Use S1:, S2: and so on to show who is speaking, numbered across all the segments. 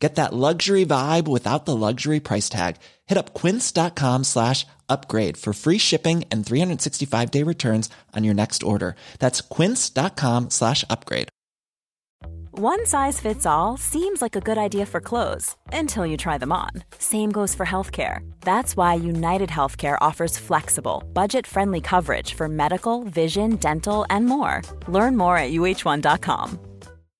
S1: Get that luxury vibe without the luxury price tag. Hit up quince.com slash upgrade for free shipping and 365 day returns on your next order. That's quince.com slash upgrade.
S2: One size fits all seems like a good idea for clothes until you try them on. Same goes for healthcare. That's why United Healthcare offers flexible, budget friendly coverage for medical, vision, dental, and more. Learn more at uh1.com.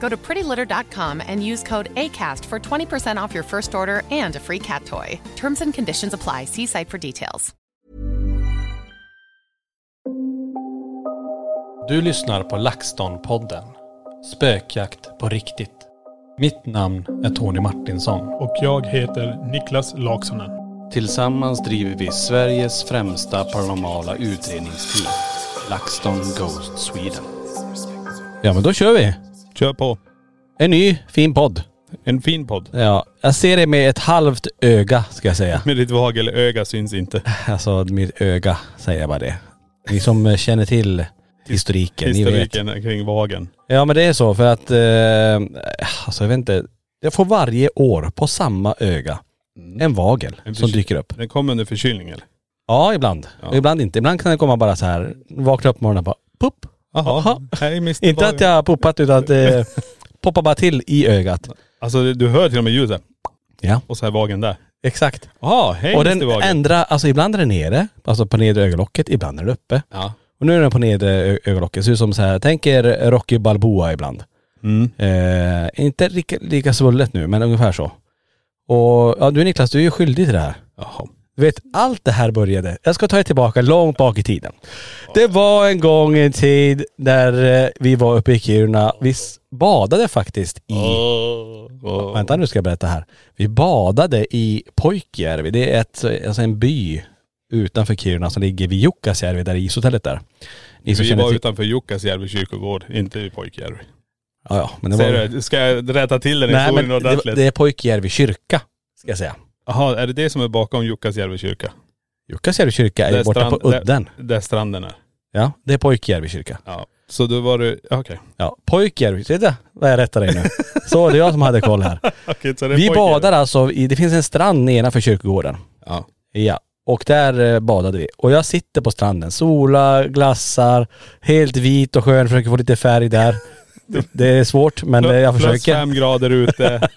S3: Go to prettylitter.com and use code ACAST for 20% off your first order and a free cat toy. Terms and conditions apply. See site for details.
S4: Du lyssnar på LaxTon-podden. Spökjakt på riktigt. Mitt namn är Tony Martinsson.
S5: och jag heter Niklas Laksonen.
S4: Tillsammans driver vi Sveriges främsta paranormala utredningsteam. LaxTon Ghost Sweden. Ja men då kör vi!
S5: Kör på.
S4: En ny fin podd.
S5: En fin podd.
S4: Ja, jag ser det med ett halvt öga ska jag säga.
S5: Med ditt vagelöga syns inte.
S4: Alltså mitt öga säger jag bara det. Ni som eh, känner till historiken, ni vet.
S5: Historiken kring vagen.
S4: Ja men det är så för att, eh, alltså jag vet inte. Jag får varje år på samma öga Mm. en vagel
S5: En
S4: som
S5: förkyl-
S4: dyker upp.
S5: Den kom under förkylning eller?
S4: Ja ibland. Och ibland inte. Ibland kan det komma bara så här, vakna upp på morgonen och bara pop. Jaha.
S5: Hej Mr.
S4: Inte att jag har poppat utan att det poppar bara till i ögat.
S5: Alltså du- du hör till och med ljudet.
S4: Ja.
S5: Och så är vagen där.
S4: Exakt.
S5: Jaha, Ah, hej
S4: Och
S5: Mr.
S4: den
S5: vagen.
S4: ändrar, alltså ibland är den nere, alltså på nedre ögonlocket, ibland är den uppe.
S5: Ja.
S4: Och nu är den på nedre ö- ögonlocket, ser ut som så här, tänk er Rocky Balboa ibland.
S5: Mm.
S4: Eh, inte lika, lika svullet nu, men ungefär så. Och ja, du Niklas, du är ju skyldig till det här.
S5: Jaha.
S4: Du vet, allt det här började, jag ska ta er tillbaka långt bak i tiden. Det var en gång en tid när eh, vi var uppe i Kiruna, vi s- badade faktiskt i Vänta nu ska jag berätta här. Vi badade i Poikjärvi. Det är ett, alltså en by utanför Kiruna som ligger vid Jukkasjärvi, där ishotellet där. Ni som
S5: Vi
S4: känner
S5: var
S4: till...
S5: utanför Jukkasjärvi kyrkogård, inte i Pojkjärvi.
S4: Ja, ja, men det var...
S5: Säger du, ska jag rätta till den
S4: Nej,
S5: historien
S4: men det,
S5: ordentligt?
S4: det är Poikjärvi kyrka, ska jag säga.
S5: Jaha, är det det som är bakom Jukkasjärvi kyrka?
S4: Jukkasjärvi kyrka är
S5: Där
S4: ju borta
S5: strand-
S4: på udden.
S5: Där, där stranden är.
S4: Ja, det är Poikjärvi kyrka.
S5: Ja. Så då var du, okej.
S4: Ja, Poikjärvi. Se där, vad jag rättade dig nu. Så det är jag som hade koll här.
S5: Okej, så det är
S4: Vi
S5: Pojkjärvi.
S4: badar alltså i, det finns en strand nedanför kyrkogården.
S5: Ja.
S4: Ja, och där eh, badade vi. Och jag sitter på stranden, solar, glassar, helt vit och skön, försöker få lite färg där. Det- Det är svårt men eh, jag
S5: Plus
S4: försöker.
S5: fem grader ute,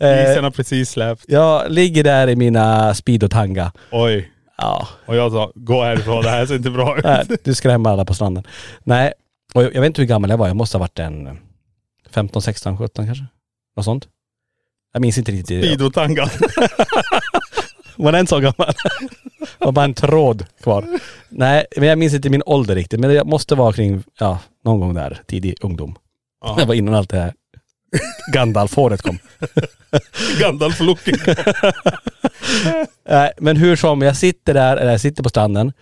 S4: Eh.
S5: isen har precis släppt.
S4: Jag ligger där i mina speedo-tanga.
S5: Oj.
S4: Ja,
S5: Och jag sa, gå härifrån, det här ser inte bra ut.
S4: nej, du skrämmer alla på stranden. Nej, och jag jag vet inte hur gammal jag var. Jag måste ha varit en 15, 16, 17 kanske. Något sånt. Jag minns inte riktigt.
S5: Idotanga.
S4: Var den så gammal? var bara en tråd kvar. Nej, men jag minns inte min ålder riktigt. Men jag måste vara kring, ja, någon gång där, tidig ungdom. Det var innan allt det här Gandalf-håret kom.
S5: Gandalf looking.
S4: Nej, men hur som, jag sitter där, eller jag sitter på stranden.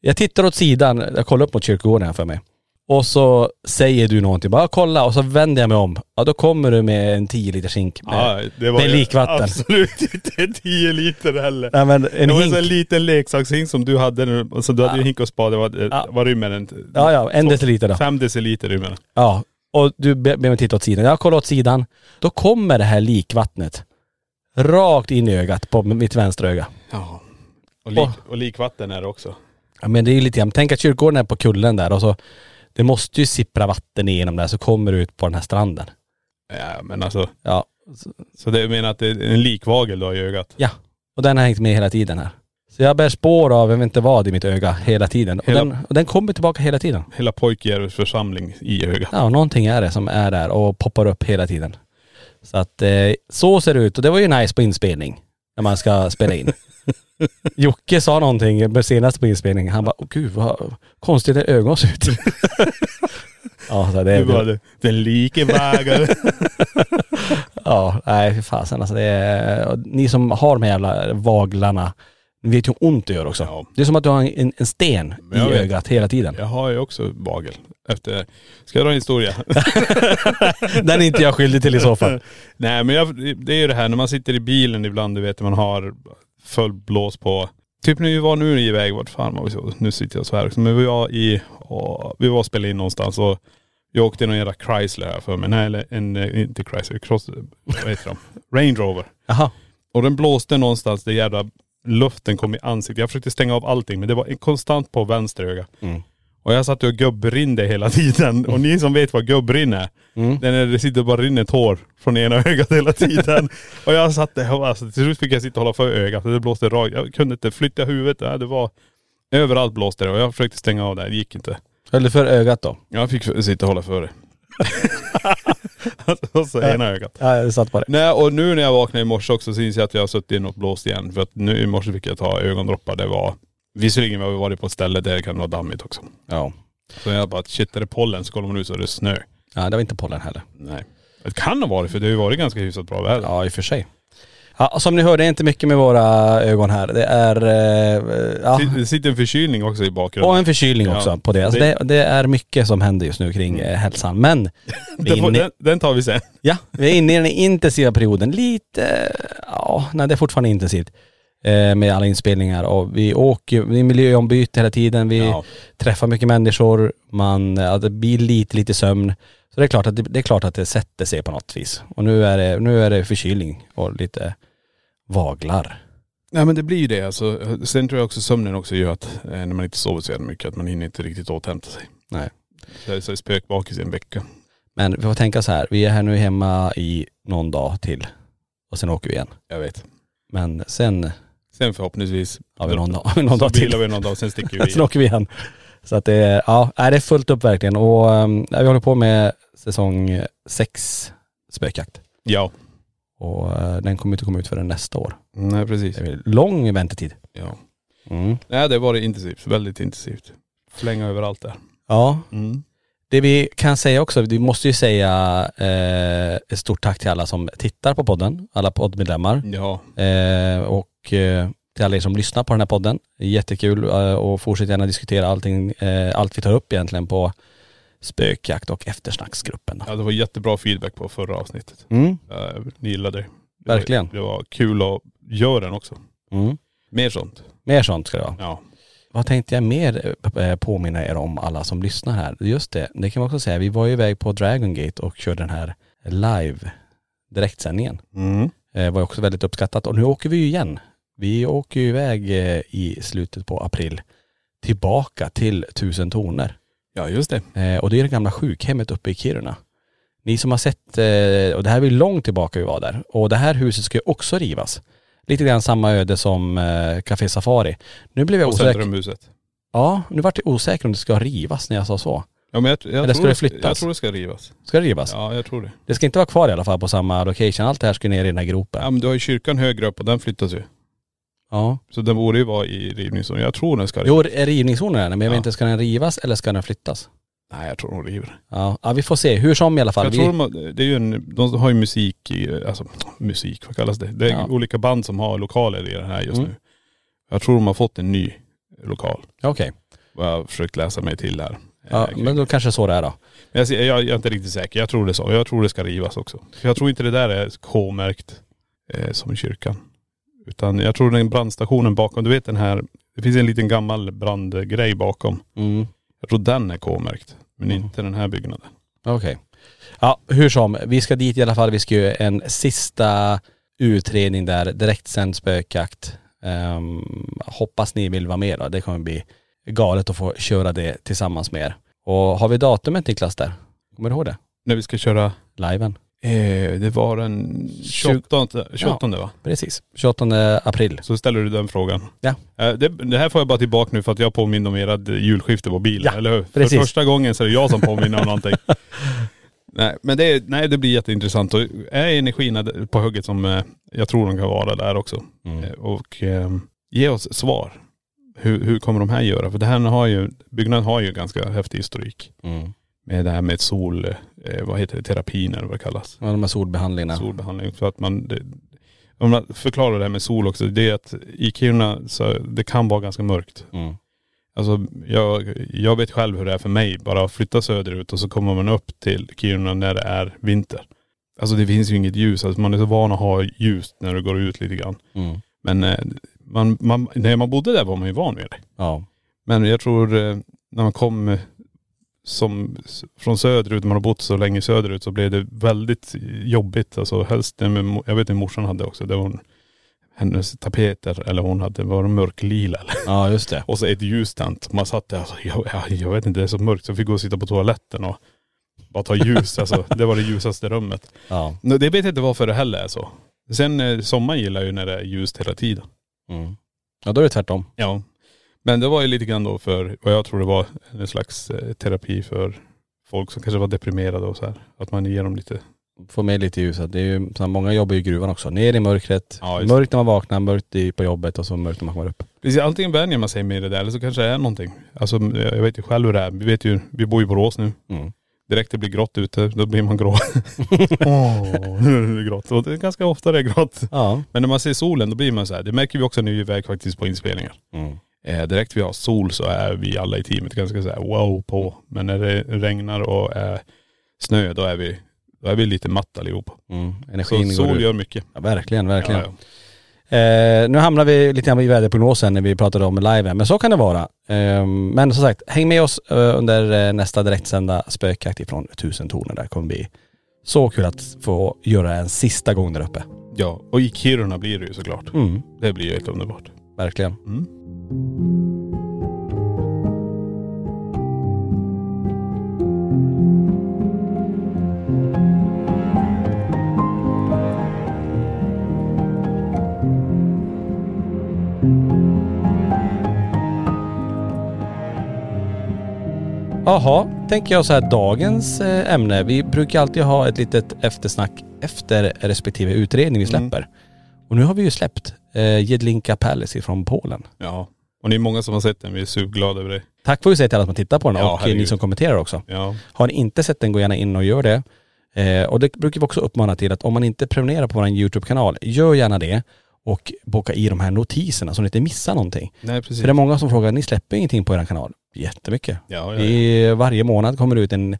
S4: Jag tittar åt sidan, jag kollar upp mot kyrkogården här för mig. Och så säger du någonting, bara kolla och så vänder jag mig om. Ja då kommer du med en 10 liters hink med,
S5: Ja, det var
S4: med
S5: ju
S4: likvatten.
S5: Absolut inte 10 liter heller.
S4: Nej men en
S5: det var en
S4: hink.
S5: sån här liten leksakshink som du hade nu. och Så du hade ju hink och spade. Vad,
S4: Ja.
S5: vad rymmer den?
S4: Ja, ja, en deciliter då.
S5: Fem deciliter rymmer den.
S4: Ja, och du be- ber mig titta åt sidan. Jag kollar åt sidan. Då kommer det här likvattnet rakt in i ögat på mitt vänstra öga.
S5: Ja. Och, lik, och likvatten är det också.
S4: Ja, men det är ju lite grann, tänk att kyrkogården är på kullen där och så, det måste ju sippra vatten igenom där så kommer det ut på den här stranden.
S5: Ja men alltså.
S4: Ja.
S5: Så det menar att det är en likvagel du har i ögat?
S4: Ja, och den har hängt med hela tiden här. Så jag bär spår av, jag vet inte vad, i mitt öga hela tiden. Och,
S5: Hela-
S4: Den, och den kommer tillbaka hela tiden.
S5: Hela Pojkjärvis församling i ögat.
S4: Ja, någonting är det som är där och poppar upp hela tiden. Så att eh, så ser det ut och det var ju nice på inspelning. när man ska spela in. Jocke sa någonting senast på inspelningen. Han bara, åh gud vad konstigt det ögon ser ut. ja, så det
S5: Du bara,
S4: är...
S5: "Den- den like vägar.
S4: Ja, nej fy fasen alltså. Det är, och ni som har de här jävla vaglarna, ni vet ju hur ont det gör också.
S5: Ja.
S4: Det är som att du har en, en sten i
S5: Men jag vet.
S4: ögat hela tiden.
S5: jag har ju också bagel efter det här. Ska jag dra en historia?
S4: Den är inte jag skyldig till i så fall.
S5: Nej men jag, det är ju det här när man sitter i bilen ibland, du vet man har full blås på. Typ när vi var nu iväg, vart fan var vi så? Nu sitter jag så här också. Men vi var i, åh, vi var och spelade in någonstans och jag åkte i någon jävla Chrysler här för mig. Nej eller en, eh, inte Chrysler, cross, vad heter de? Range Rover.
S4: Jaha.
S5: Och den blåste någonstans, det jävla luften kom i ansiktet. Jag försökte stänga av allting men det var en konstant på vänster öga. Och jag satt och gubbrinne hela tiden. Och ni som vet vad gubbrinne är, det är när det sitter och bara rinner tår från ena ögat hela tiden. och jag satt där och alltså, till slut fick jag sitta och hålla för ögat och det blåste rakt. Jag kunde inte flytta huvudet. Nej, Det var.. Överallt blåste det och jag försökte stänga av det, här. det gick inte.
S4: Höll du för ögat då?
S5: Jag fick sitta och hålla för det. alltså, så ena ögat.
S4: Ja, jag satt på det.
S5: Nej och nu när jag vaknade i morse också så inser jag att jag har suttit in och blåst igen. För att nu i morse fick jag ta ögondroppar. Det var.. Visserligen har vi varit på ett ställe där det kan vara dammigt också.
S4: Ja.
S5: Så jag bara, shit är det pollen? Så kollar man ut så är det snö.
S4: Ja, det var inte pollen heller.
S5: Nej. Det kan ha varit för det har ju varit ganska hyfsat bra väder.
S4: Ja, i och för sig. Ja, som ni hörde, det är inte mycket med våra ögon här. Det är.. Eh, ja.
S5: Det- Det sitter en förkylning också i bakgrunden.
S4: Och en förkylning
S5: Ja.
S4: också på det. Alltså det. Det är mycket som händer just nu kring eh, hälsan. Men vi är,
S5: Den, får-
S4: inne,
S5: den, den tar vi sen.
S4: ja, vi är inne i den intensiva perioden. Lite, eh, ja, nej det är fortfarande intensivt. eh, Med alla inspelningar och vi åker, ju- vi är miljöombyte hela tiden, vi
S5: Ja.
S4: träffar mycket människor, man, eh, ja, det blir lite, lite sömn. Så det är klart att det, det, är klart att det sätter sig på något vis. Och nu är det, nu är det förkylning och lite vaglar.
S5: Nej men det blir ju det. Alltså, sen tror jag också sömnen också gör att eh, när man inte sover så jävla mycket att man hinner inte riktigt återhämta sig.
S4: Nej.
S5: Så jag är så spökbakis i en vecka.
S4: Men vi får tänka så här, vi är här nu hemma i någon dag till och sen åker vi igen.
S5: Jag vet.
S4: Men sen
S5: Sen förhoppningsvis
S4: har vi någon dag, har vi någon
S5: så
S4: dag till. Alltså,
S5: vilar vi någon dag sen sticker vi
S4: Sen
S5: igen.
S4: åker vi igen. Så att det är, ja, nej, det är fullt upp verkligen. Och um, vi håller på med säsong sex spökjakt.
S5: Ja.
S4: Och eh, den kommer inte komma ut förrän nästa år.
S5: Nej precis.
S4: Det är lång väntetid.
S5: Ja.
S4: Mm.
S5: Nej det var det intensivt. Väldigt intensivt. Flänga överallt där.
S4: Ja,
S5: Mm.
S4: det vi kan säga också, vi måste ju säga eh, ett stort tack till alla som tittar på podden, alla poddmedlemmar.
S5: Ja.
S4: Eh, och eh, till alla er som lyssnar på den här podden. Jättekul eh, och fortsätt gärna diskutera allting, eh, allt vi tar upp egentligen på spökjakt och eftersnacksgruppen.
S5: ja. Det var jättebra feedback på förra avsnittet.
S4: Mm.
S5: Eh, Ni gillade det. det.
S4: Verkligen.
S5: Var, det var kul att göra den också.
S4: Mm.
S5: Mer sånt.
S4: Mer sånt ska det vara.
S5: Ja.
S4: Vad tänkte jag mer eh, påminna er om alla som lyssnar här? Just det, det kan man också säga. Vi var ju iväg på Dragon Gate och körde den här live direktsändningen.
S5: Mm.
S4: Eh, var ju också väldigt uppskattat. Och nu åker vi ju igen. Vi åker ju iväg eh, i slutet på april tillbaka till Tusen Toner.
S5: Ja just det.
S4: Eh, och det är det gamla sjukhemmet uppe i Kiruna. Ni som har sett, eh, och det här var ju långt tillbaka vi var där, och det här huset ska ju också rivas. Lite grann samma öde som eh, Café Safari. Nu blev jag
S5: Och
S4: osäker.
S5: Centrumhuset.
S4: Ja, nu vart jag osäker om det ska rivas när jag sa så.
S5: Ja men jag, jag,
S4: Eller ska
S5: tror,
S4: det flyttas?
S5: jag tror det ska rivas.
S4: Ska det rivas?
S5: Ja jag tror det.
S4: Det ska inte vara kvar i alla fall på samma location. Allt det här ska ner i den här
S5: Ja
S4: gropen.
S5: men du har ju kyrkan högre upp och den flyttas ju.
S4: Ja.
S5: Så den borde ju vara i rivningszonen. Jag tror den ska rivas.
S4: Jo, är rivningszonen där, men jag vet
S5: Ja.
S4: inte, ska den rivas eller ska den flyttas?
S5: Nej jag tror de river.
S4: Ja, ja vi får se. Hur som i alla fall.
S5: Jag
S4: vi...
S5: tror de, har- det är ju en, de har ju musik i, alltså musik vad kallas det? Det är
S4: Ja.
S5: olika band som har lokaler i den här just
S4: Mm.
S5: nu. Jag tror de har fått en ny lokal.
S4: Okej.
S5: Vad jag har försökt läsa mig till här.
S4: Ja,
S5: Eh, kring.
S4: men då kanske så det är då.
S5: jag, ser- jag, jag är inte riktigt säker. Jag tror det så. Jag tror det ska rivas också. För Jag tror inte det där är K-märkt eh, som kyrkan. Utan jag tror den brandstationen bakom, du vet den här, det finns en liten gammal brandgrej bakom.
S4: Mm.
S5: Jag tror den är K-märkt. Men
S4: Mm.
S5: inte den här byggnaden.
S4: Okej. Ja, hur som. Vi ska dit i alla fall. Vi ska göra en sista utredning där, direktsänd spökjakt. Ehm, hoppas ni vill vara med då. Det kommer bli galet att få köra det tillsammans med er. Och har vi datumet Niklas där? Kommer du ihåg det?
S5: När vi ska köra,
S4: Liven.
S5: eh, det var den 28, 28 va?
S4: Precis. 28 april.
S5: Så ställer du den frågan.
S4: Ja.
S5: Eh, Det, det här får jag bara tillbaka nu för att jag påminner om ert julskifte på bilen,
S4: Ja,
S5: eller hur?
S4: precis.
S5: För första gången så är det jag som påminner om någonting. Nej, men det, är, nej, det blir jätteintressant. Och är energierna på hugget som eh, jag tror de kan vara där också.
S4: Mm.
S5: Eh, Och eh, ge oss svar. Hur, hur kommer de här göra? För det här har ju, byggnaden har ju ganska häftig historik.
S4: Mm.
S5: Med det här med sol, eh, vad heter det, terapin eller vad det kallas.
S4: Ja, de här solbehandlingarna.
S5: Solbehandling. För att man, det, om man förklarar det här med sol också, det är att i Kiruna så det kan vara ganska mörkt.
S4: Mm.
S5: Alltså jag, jag vet själv hur det är för mig, bara att flytta söderut och så kommer man upp till Kiruna när det är vinter. Alltså det finns ju inget ljus, alltså man är så van att ha ljus när du går ut lite grann.
S4: Mm.
S5: Men eh, man, man, när man bodde där var man ju van vid det.
S4: Ja.
S5: Men jag tror eh, när man kom eh, som, s- från söderut, man har bott så länge söderut så blev det väldigt jobbigt. Alltså helst, det med mo- jag vet inte morsan hade också, det var hon, hennes tapeter eller hon hade, var det mörklila eller?
S4: ja, just det.
S5: Och så ett ljus tänt. Man satt där, alltså, jag, jag, jag vet inte, det är så mörkt så jag fick gå och sitta på toaletten och bara ta ljus. alltså, det var det ljusaste rummet.
S4: Ja.
S5: Nå, Det vet jag inte varför det heller är så. Sen eh, sommaren gillar jag ju när det är ljust hela tiden.
S4: Mm. Ja då är det tvärtom.
S5: Ja. Men det var ju lite grann då för, vad jag tror det var, en slags eh, terapi för folk som kanske var deprimerade och så här. Att man ger dem lite..
S4: Få med lite ljus. att Det är ju, så här, många jobbar ju i gruvan också. Ner i mörkret.
S5: Ja, just det.
S4: mörkt när man vaknar, mörkt i- på jobbet och så mörkt när man kommer upp.
S5: Precis, antingen vänjer man sig med det där eller så kanske det är någonting. Alltså jag jag vet ju själv hur det är. Vi vet ju, vi bor ju i Borås nu.
S4: Mm.
S5: Direkt det blir grått ute, då blir man grå. Åh, nu är det grått. Och det är ganska ofta det är grått.
S4: Ja.
S5: Men när man ser solen då blir man så här. Det märker vi också när vi är iväg faktiskt på inspelningar.
S4: Mm.
S5: Eh, direkt vi har sol så är vi alla i teamet ganska så här wow på. Men när det regnar och är snö då är vi, då är vi lite matt allihopa.
S4: Mm.
S5: Så
S4: Energin går
S5: sol
S4: ut.
S5: gör mycket.
S4: Ja, verkligen, verkligen.
S5: Ja, ja.
S4: Eh, nu hamnar vi lite grann i väderprognosen när vi pratade om live, men så kan det vara. Eh, men som sagt, häng med oss eh, under eh, nästa direktsända spökjakt ifrån Tusentornen. Där kommer bli så kul att få göra en sista gång där uppe.
S5: ja, och i Kiruna blir det ju såklart.
S4: Mm.
S5: Det blir ju helt underbart.
S4: Verkligen.
S5: Mm.
S4: Jaha, tänker jag så här, dagens eh, ämne. Vi brukar alltid ha ett litet eftersnack efter respektive utredning vi släpper. Och nu har vi ju släppt eh, Jedlinka Palace ifrån Polen.
S5: Ja. Och ni är många som har sett den, vi är superglada över det.
S4: Tack får vi säga till alla som tittar på den
S5: Ja,
S4: och eh,
S5: herregud.
S4: ni som kommenterar också.
S5: Ja.
S4: Har ni inte sett den, gå gärna in och gör det. Eh, och det brukar vi också uppmana till att om man inte prenumererar på vår YouTube-kanal, gör gärna det och bocka i de här notiserna så ni inte missar någonting.
S5: Nej precis.
S4: För det är många som frågar, ni släpper ingenting på er kanal? Jättemycket.
S5: Ja, ja, ja.
S4: I varje månad kommer det ut en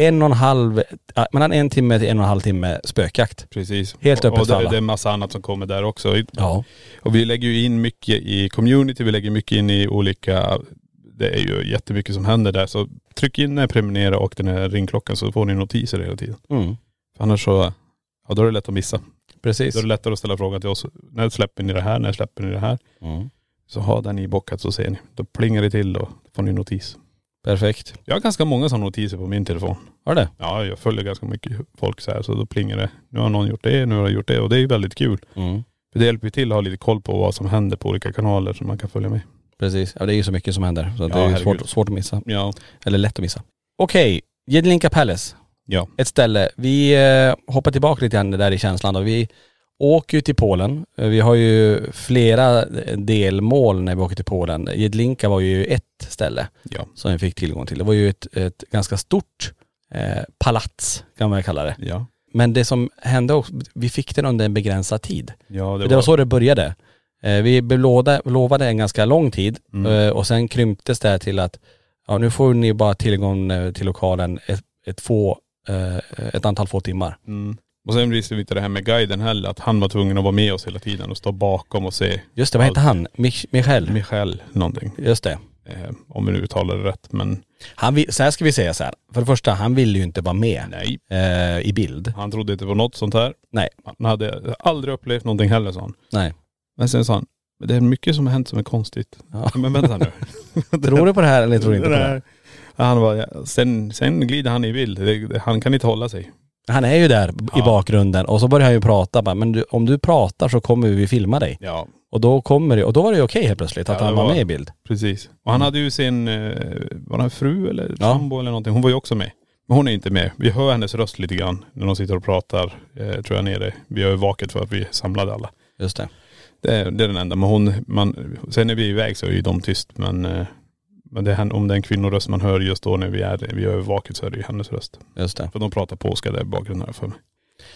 S4: en och en halv, äh, mellan en timme till en och en halv timme spökjakt.
S5: Precis.
S4: Helt öppet
S5: och, och
S4: för
S5: det,
S4: alla.
S5: det är massa annat som kommer där också.
S4: Ja.
S5: Och vi lägger ju in mycket i community, vi lägger mycket in i olika.. Det är ju jättemycket som händer där. Så tryck in den, prenumerera och den här ringklockan så får ni notiser hela tiden.
S4: Mm.
S5: För annars så, ja då är det lätt att missa.
S4: Precis.
S5: Då är det lättare att ställa frågan till oss. När släpper ni det här? När släpper ni det här?
S4: Mm.
S5: Så har den ibockat så ser ni. Då plingar det till och får ni notis.
S4: Perfekt.
S5: Jag har ganska många sådana notiser på min telefon.
S4: Har det?
S5: Ja, jag följer ganska mycket folk så här så då plingar det. Nu har någon gjort det, nu har jag gjort det och det är ju väldigt kul.
S4: Mm.
S5: För det hjälper ju till att ha lite koll på vad som händer på olika kanaler så man kan följa med.
S4: Precis. Ja, det är ju så mycket som händer. Så att det
S5: Ja,
S4: är ju
S5: herregud.
S4: svårt, svårt att missa.
S5: Ja.
S4: Eller lätt att missa. Okej, Jedlinka Palace.
S5: Ja.
S4: Ett ställe. Vi eh, hoppar tillbaka lite grann där i känslan då. Vi åker ju till Polen. Eh, Vi har ju flera eh, delmål när vi åker till Polen. Jedlinka var ju ett ställe
S5: Ja.
S4: som vi fick tillgång till. Det var ju ett, ett ganska stort eh, palats kan man kalla det.
S5: Ja.
S4: Men det som hände också, vi fick den under en begränsad tid.
S5: Ja
S4: Det var, så det började. Eh, Vi blev lovade, lovade en ganska lång tid
S5: Mm.
S4: eh, och sen krymptes det här till att ja, nu får ni bara tillgång eh, till lokalen ett, ett, få, eh, ett antal få timmar.
S5: mm. Och sen visste vi inte det här med guiden heller, att han var tvungen att vara med oss hela tiden och stå bakom och se
S4: Just det, vad hette han? Mich- Michel?
S5: Michel någonting.
S4: Just det.
S5: Eh, om vi nu uttalar det rätt men
S4: Han vill, så här ska vi säga så här. För det första, han ville ju inte vara med
S5: nej.
S4: eh, i bild.
S5: Han trodde inte på något sånt här.
S4: Nej.
S5: Han hade aldrig upplevt någonting heller sa han.
S4: Nej.
S5: Men sen sa han, "Men det är mycket som har hänt som är konstigt.
S4: Ja.
S5: Men vänta nu.
S4: Tror du på det här eller tror du inte på det? här?
S5: Nej. Han bara, ja, sen, sen glider han i bild. Det- det- Han kan inte hålla sig.
S4: Han är ju där i
S5: Ja.
S4: bakgrunden och så börjar han ju prata bara, men du, om du pratar så kommer vi filma dig.
S5: Ja.
S4: Och då kommer det, och då var det ju okej helt plötsligt att
S5: Ja,
S4: han
S5: det
S4: var
S5: var-
S4: med i bild.
S5: Precis. Och han hade ju sin, eh, var det en fru eller
S4: Ja.
S5: sambo eller någonting. Hon var ju också med. Men hon är inte med. Vi hör hennes röst lite grann när de sitter och pratar, eh, tror jag nere. Vi har ju vaket för att vi samlade alla.
S4: Just det.
S5: Det är, det är den enda. Men hon, man, sen när vi är iväg så är ju de tyst. Men, eh, men det är, hen- om det är en kvinnoröst man hör just då när vi är vi är vaket så är det ju hennes röst.
S4: Just det.
S5: För de pratar polska där i bakgrunden här för mig.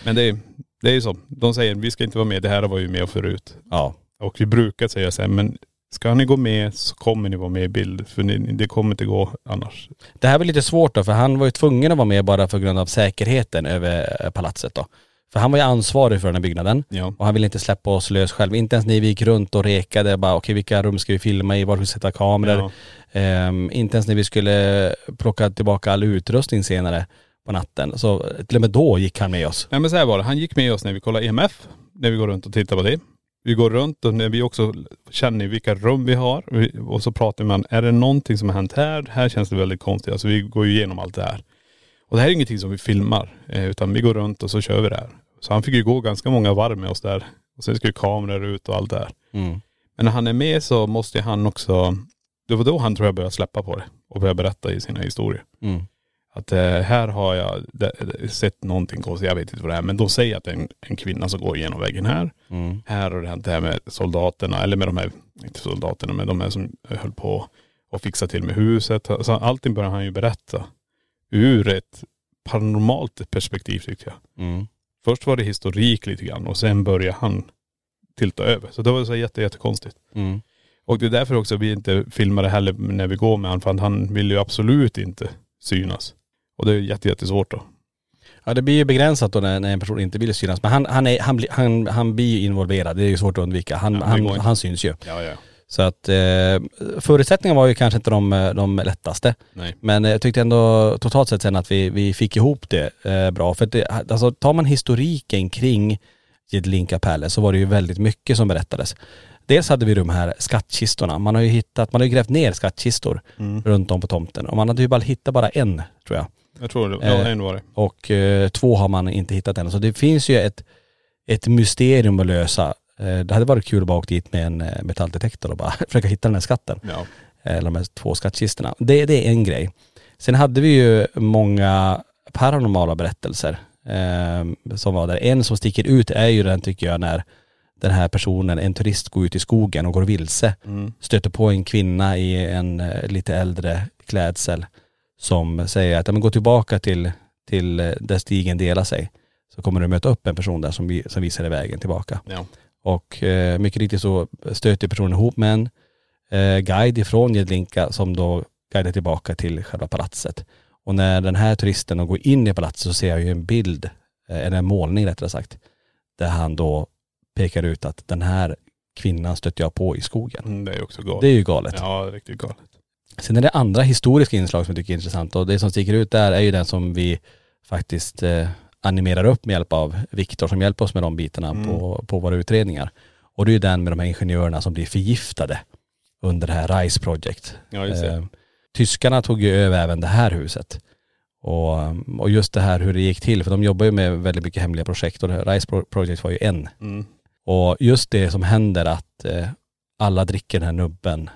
S5: Men det är, det är ju så. De säger vi ska inte vara med. Det här var ju med förut.
S4: Ja.
S5: Och vi brukar säga så här, men ska ni gå med så kommer ni vara med i bild. För ni, det kommer inte gå annars.
S4: Det här var lite svårt då för han var ju tvungen att vara med bara för grund av säkerheten över eh, palatset då. För han var ju ansvarig för den här byggnaden.
S5: Ja.
S4: Och han ville inte släppa oss lös själv. Inte ens när vi gick runt och rekade bara okej vilka rum ska vi filma i, var ska vi sätta kameror.
S5: Ja.
S4: Ehm, inte ens när vi skulle plocka tillbaka all utrustning senare på natten. Så eh, till och med då gick han med oss.
S5: Nej men så här var det, han gick med oss när vi kollade EMF, när vi går runt och tittar på det. Vi går runt och när vi också känner vilka rum vi har Vi- och så pratar man, är det någonting som har hänt här? Här känns det väldigt konstigt. Alltså vi går ju igenom allt det här. Och det här är ingenting som vi filmar, eh, utan vi går runt och så kör vi det här. Så han fick ju gå ganska många varv med oss där. Och sen ska ju kameror ut och allt det här. Men när han är med så måste ju han också, det var då han tror jag började släppa på det och började berätta i sina historier.
S4: Mm.
S5: Att eh, här har jag de- de- sett någonting konstigt, jag vet inte vad det är, men de säger att det är en, en kvinna som går igenom väggen här. Här har det hänt det här med soldaterna, eller med de här, inte soldaterna, men de här som höll på och fixa till med huset. Så allting börjar han ju berätta ur ett paranormalt perspektiv tycker jag.
S4: Mm.
S5: Först var det historik lite grann och sen började han tilta över. Så det var så jätte, jättekonstigt.
S4: Mm.
S5: Och det är därför också vi inte filmar det heller när vi går med honom. För att han vill ju absolut inte synas. Och det är jätte, jättesvårt då.
S4: Ja det blir ju begränsat då när, när en person inte vill synas. Men han, han, är, han, blir- han, han blir ju involverad, det är ju svårt att undvika. Han,
S5: Ja, det
S4: han,
S5: går inte.
S4: han syns ju.
S5: Ja, ja.
S4: Så att eh, förutsättningarna var ju kanske inte de, eh, de lättaste.
S5: Nej.
S4: Men eh, jag tyckte ändå totalt sett sen att vi, vi fick ihop det eh, bra. För att det, alltså, tar man historiken kring Jedlinka Pärle så var det ju väldigt mycket som berättades. Dels hade vi de här skattkistorna. Man har ju hittat, man har ju grävt ner skattkistor runt om på tomten. Och man hade ju bara hittat bara en tror jag.
S5: Jag tror det. Ja,
S4: Eh.
S5: en var det.
S4: Och eh, två har man inte hittat än. Så det finns ju ett, ett mysterium att lösa. Eh, det hade varit kul att bara åka dit med en eh, metalldetektor och bara försöka hitta den här skatten.
S5: Ja.
S4: Eller eh, de här två skattkistorna. Det, det är en grej. Sen hade vi ju många paranormala berättelser eh, som var där. En som sticker ut är ju den tycker jag när den här personen, en turist går ut i skogen och går vilse. Stöter på en kvinna i en eh, lite äldre klädsel som säger att "Ja, men gå tillbaka till, till eh, där stigen delar sig. Så kommer du möta upp en person där som, vi- som visar dig vägen tillbaka.
S5: Ja.
S4: Och eh, mycket riktigt så stöter personen ihop med en eh, guide ifrån Jedlinka som då guidar tillbaka till själva palatset. Och när den här turisten då går in i palatset så ser jag ju en bild, eh, eller en målning rättare sagt, där han då pekar ut att den här kvinnan stötte jag på i skogen.
S5: Mm, det är ju också galet.
S4: Det är ju galet.
S5: Ja, riktigt galet.
S4: Sen är det andra historiska inslag som jag tycker är intressanta och det som sticker ut där är ju den som vi faktiskt eh, animerar upp med hjälp av Viktor som hjälper oss med de bitarna
S5: Mm.
S4: på, på våra utredningar. Och det är ju den med de här ingenjörerna som blir förgiftade under det här RISE Project.
S5: Ja, just det.
S4: Eh, tyskarna tog ju över även det här huset. Och, mm, och just det här hur det gick till, för de jobbar ju med väldigt mycket hemliga projekt och det här RISE Pro- Project var ju en.
S5: Mm.
S4: Och just det som händer att eh, alla dricker den här nubben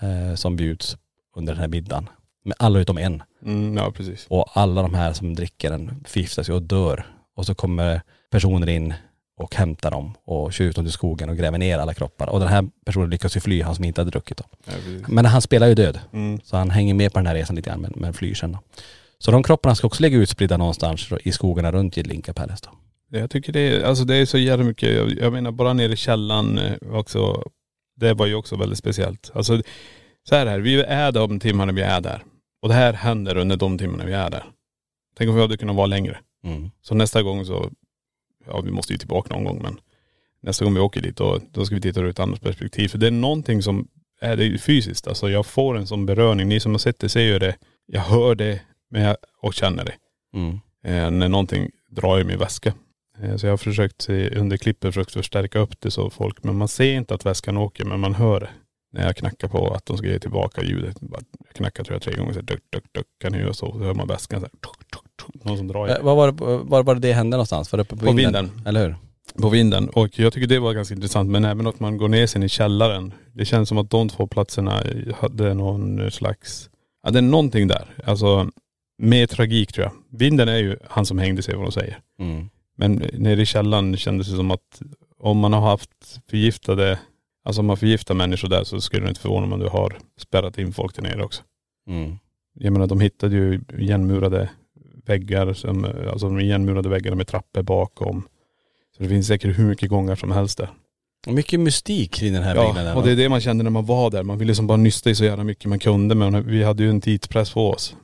S4: eh, som bjuds under den här middagen. Men alla utom en.
S5: Mm, ja, precis.
S4: Och alla de här som dricker den förgiftas ju och dör. Och så kommer personer in och hämtar dem och kör ut dem till skogen och gräver ner alla kroppar. Och den här personen lyckas ju fly, han som inte hade druckit. Då.
S5: Ja, precis.
S4: Men han spelar ju död.
S5: Mm.
S4: Så han hänger med på den här resan lite grann men, men flyr sen. Då. Så de kropparna ska också ligga utspridda någonstans i skogarna runt Jedlinka Palace då.
S5: Jag tycker det är, alltså det är så jävla mycket, jag, jag menar bara nere i källaren eh, också. Det var ju också väldigt speciellt. Alltså så här, är det, vi är de timmarna vi är där. Och det här händer under de timmarna vi är där. Tänk om vi hade kunnat vara längre.
S4: Mm.
S5: Så nästa gång så, ja vi måste ju tillbaka någon gång men nästa gång vi åker dit då, då ska vi titta ur ett annat perspektiv. För det är någonting som, är det är ju fysiskt alltså. Jag får en sån beröring. Ni som har sett det ser ju det. Jag hör det men jag, och känner det
S4: Mm.
S5: eh, när någonting drar i min väska. Eh, så jag har försökt eh, under klippet försökt förstärka upp det så folk, men man ser inte att väskan åker men man hör det. När jag knackar på att de ska ge tillbaka ljudet. Bara, Jag knackar tror jag tre gånger så här, duck, duck, duck kan ni göra så. Så hör man väskan så här, tuk, tuk, tuk, någon som drar i
S4: Eh,
S5: den.
S4: Var var, det- var var det det hände någonstans? Var det uppe på,
S5: På
S4: vinden?
S5: vinden.
S4: Eller hur?
S5: på vinden. Och jag tycker det var ganska intressant. Men även att man går ner sen i källaren. Det känns som att de två platserna hade någon slags.. Ja det är någonting där. Alltså Mer tragik tror jag. Vinden är ju han som hängde sig vad de säger.
S4: Mm.
S5: Men nere i källaren kändes det som att om man har haft förgiftade, alltså om man förgiftar människor där så skulle det inte förvåna mig om du har spärrat in folk där nere också.
S4: Mm.
S5: Jag menar de hittade ju igenmurade väggar, som, alltså de igenmurade väggarna med trappor bakom. Så det finns säkert hur mycket gångar som helst där.
S4: Mycket mystik kring den här byggnaden.
S5: Ja, och det är det man kände när man var där. Man ville liksom bara nysta i så jävla mycket man kunde men vi hade ju en tidspress på oss.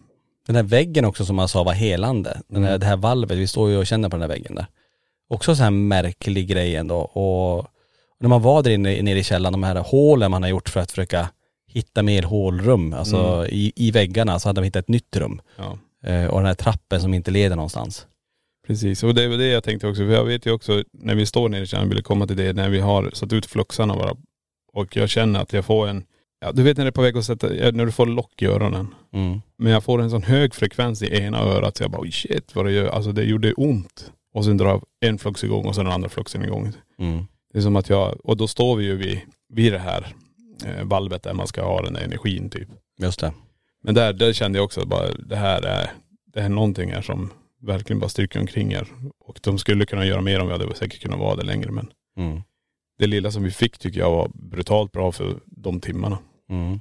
S4: Den här väggen också som man sa var helande. Den här, det här valvet, vi står ju och känner på den här väggen där. Också så här märklig grej ändå. Och när man var där inne nere i källaren, de här hålen man har gjort för att försöka hitta mer hålrum, alltså i, i väggarna så hade de hittat ett nytt rum.
S5: Ja.
S4: Eh, och den här trappen som inte leder någonstans.
S5: Precis, och det var det jag tänkte också. För jag vet ju också när vi står nere i kärnan, vill komma till det, när vi har satt ut fluxarna bara. Och jag känner att jag får en, ja, du vet när det är på väg att sätta, ja, när du får lock i öronen.
S4: Mm,
S5: Men jag får en sån hög frekvens i ena örat så jag bara, oj shit vad det gör, alltså det gjorde ont. Och sen drar en flux igång och sen den andra fluxen igång.
S4: mm,
S5: Det är som att jag, och då står vi ju vid, vid det här eh, valvet där man ska ha den där energin typ.
S4: Just det.
S5: Men där, där kände jag också bara det här är, det här är någonting här som verkligen bara stryker omkring er. Och de skulle kunna göra mer om vi hade säkert kunnat vara där längre men
S4: Mm.
S5: det lilla som vi fick tycker jag var brutalt bra för de timmarna.
S4: Mm.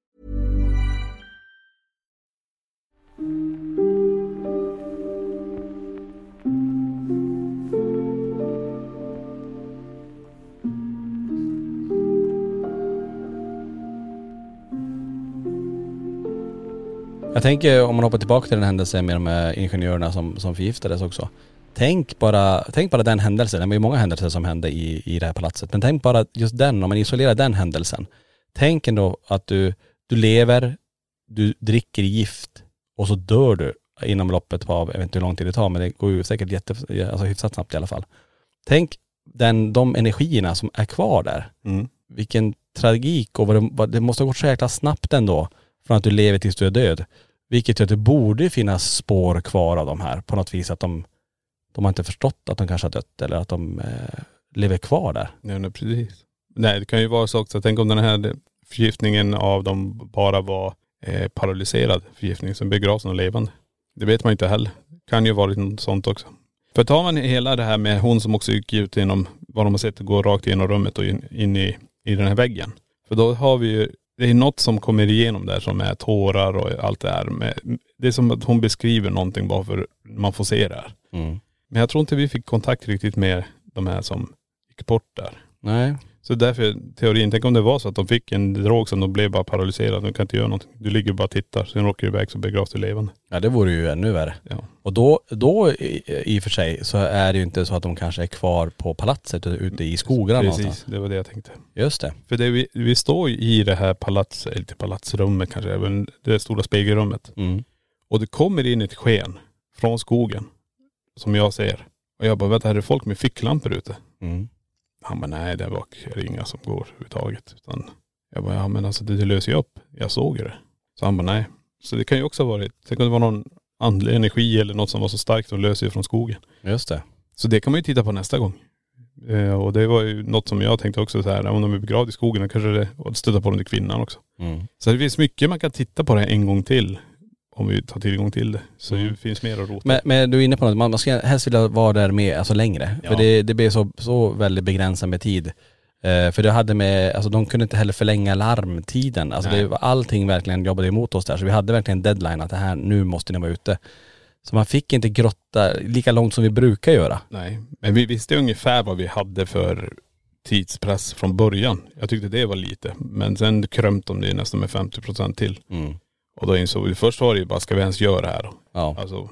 S4: Jag tänker om man hoppar tillbaka till den händelsen med de här ingenjörerna som, som förgiftades också. Tänk bara, tänk bara den händelsen, det var ju många händelser som hände i, i det här palatset, men tänk bara just den, om man isolerar den händelsen. Tänk ändå att du, du lever, du dricker gift och så dör du inom loppet av, jag vet inte hur lång tid det tar, men det går ju säkert jätte, alltså hyfsat snabbt i alla fall. Tänk den, de energierna som är kvar där vilken tragik och vad det, vad, det måste ha gått så jäkla snabbt ändå från att du lever tills du är död. Vilket gör att det borde finnas spår kvar av de här på något vis att de, de har inte förstått att de kanske har dött eller att de eh, lever kvar där.
S5: Ja, nej, precis. Nej det kan ju vara så också, tänk om den här förgiftningen av dem bara var eh, paralyserad förgiftning som begravs som levande. Det vet man ju inte heller. Kan ju varit något sånt också. För tar man hela det här med hon som också gick ut genom, vad de har sett, gå rakt genom rummet och in, in i, i den här väggen. För då har vi ju, det är något som kommer igenom där som är tårar och allt det här. Med, det är som att hon beskriver någonting bara för man får se det här. Men jag tror inte vi fick kontakt riktigt med de här som gick bort där.
S4: Nej.
S5: Så därför teorin, tänk om det var så att de fick en drog som de blev bara paralyserade, de kan inte göra någonting. Du ligger och bara tittar, sen åker du iväg så begravs du levande.
S4: Ja det vore ju ännu värre.
S5: Ja.
S4: Och då, då i, i och för sig så är det ju inte så att de kanske är kvar på palatset utan ute i skogarna någonstans.
S5: Precis, det var det jag tänkte.
S4: Just det.
S5: För det, vi, vi står ju i det här palats, eller inte palatsrummet kanske, men det stora spegelrummet.
S4: Mm.
S5: Och det kommer in ett sken från skogen, som jag ser. Och jag bara, vänta här är det folk med ficklampor ute.
S4: Mm.
S5: Han bara, nej där bak är det inga som går överhuvudtaget. Utan jag bara, ja men alltså det, det löser ju upp. Jag såg ju det. Så han bara, nej. Så det kan ju också ha varit, tänk om det var någon andlig energi eller något som var så starkt och löser ju från skogen.
S4: Just det.
S5: Så det kan man ju titta på nästa gång. Eh, och det var ju något som jag tänkte också så här, om de är begravda i skogen, då kanske det, och stöta på den där kvinnan också.
S4: Mm.
S5: Så det finns mycket man kan titta på det här en gång till. Om vi tar tillgång till det. Så det finns mer att rota.
S4: Men, men du är inne på något, man man ska helst vilja vara där med, alltså längre.
S5: Ja.
S4: För det, det blir så, så väldigt begränsat med tid. Eh, för det hade med, alltså de kunde inte heller förlänga larmtiden. Alltså det, var- allting verkligen jobbade emot oss där. Så vi hade verkligen deadline att det här, nu måste ni vara ute. Så man fick inte grotta lika långt som vi brukar göra.
S5: Nej, men vi visste ungefär vad vi hade för tidspress från början. Jag tyckte det var lite. Men sen krömt de det ju nästan med 50 procent till. Och då insåg vi, först var det ju bara, ska vi ens göra det här då?
S4: Ja.
S5: Alltså,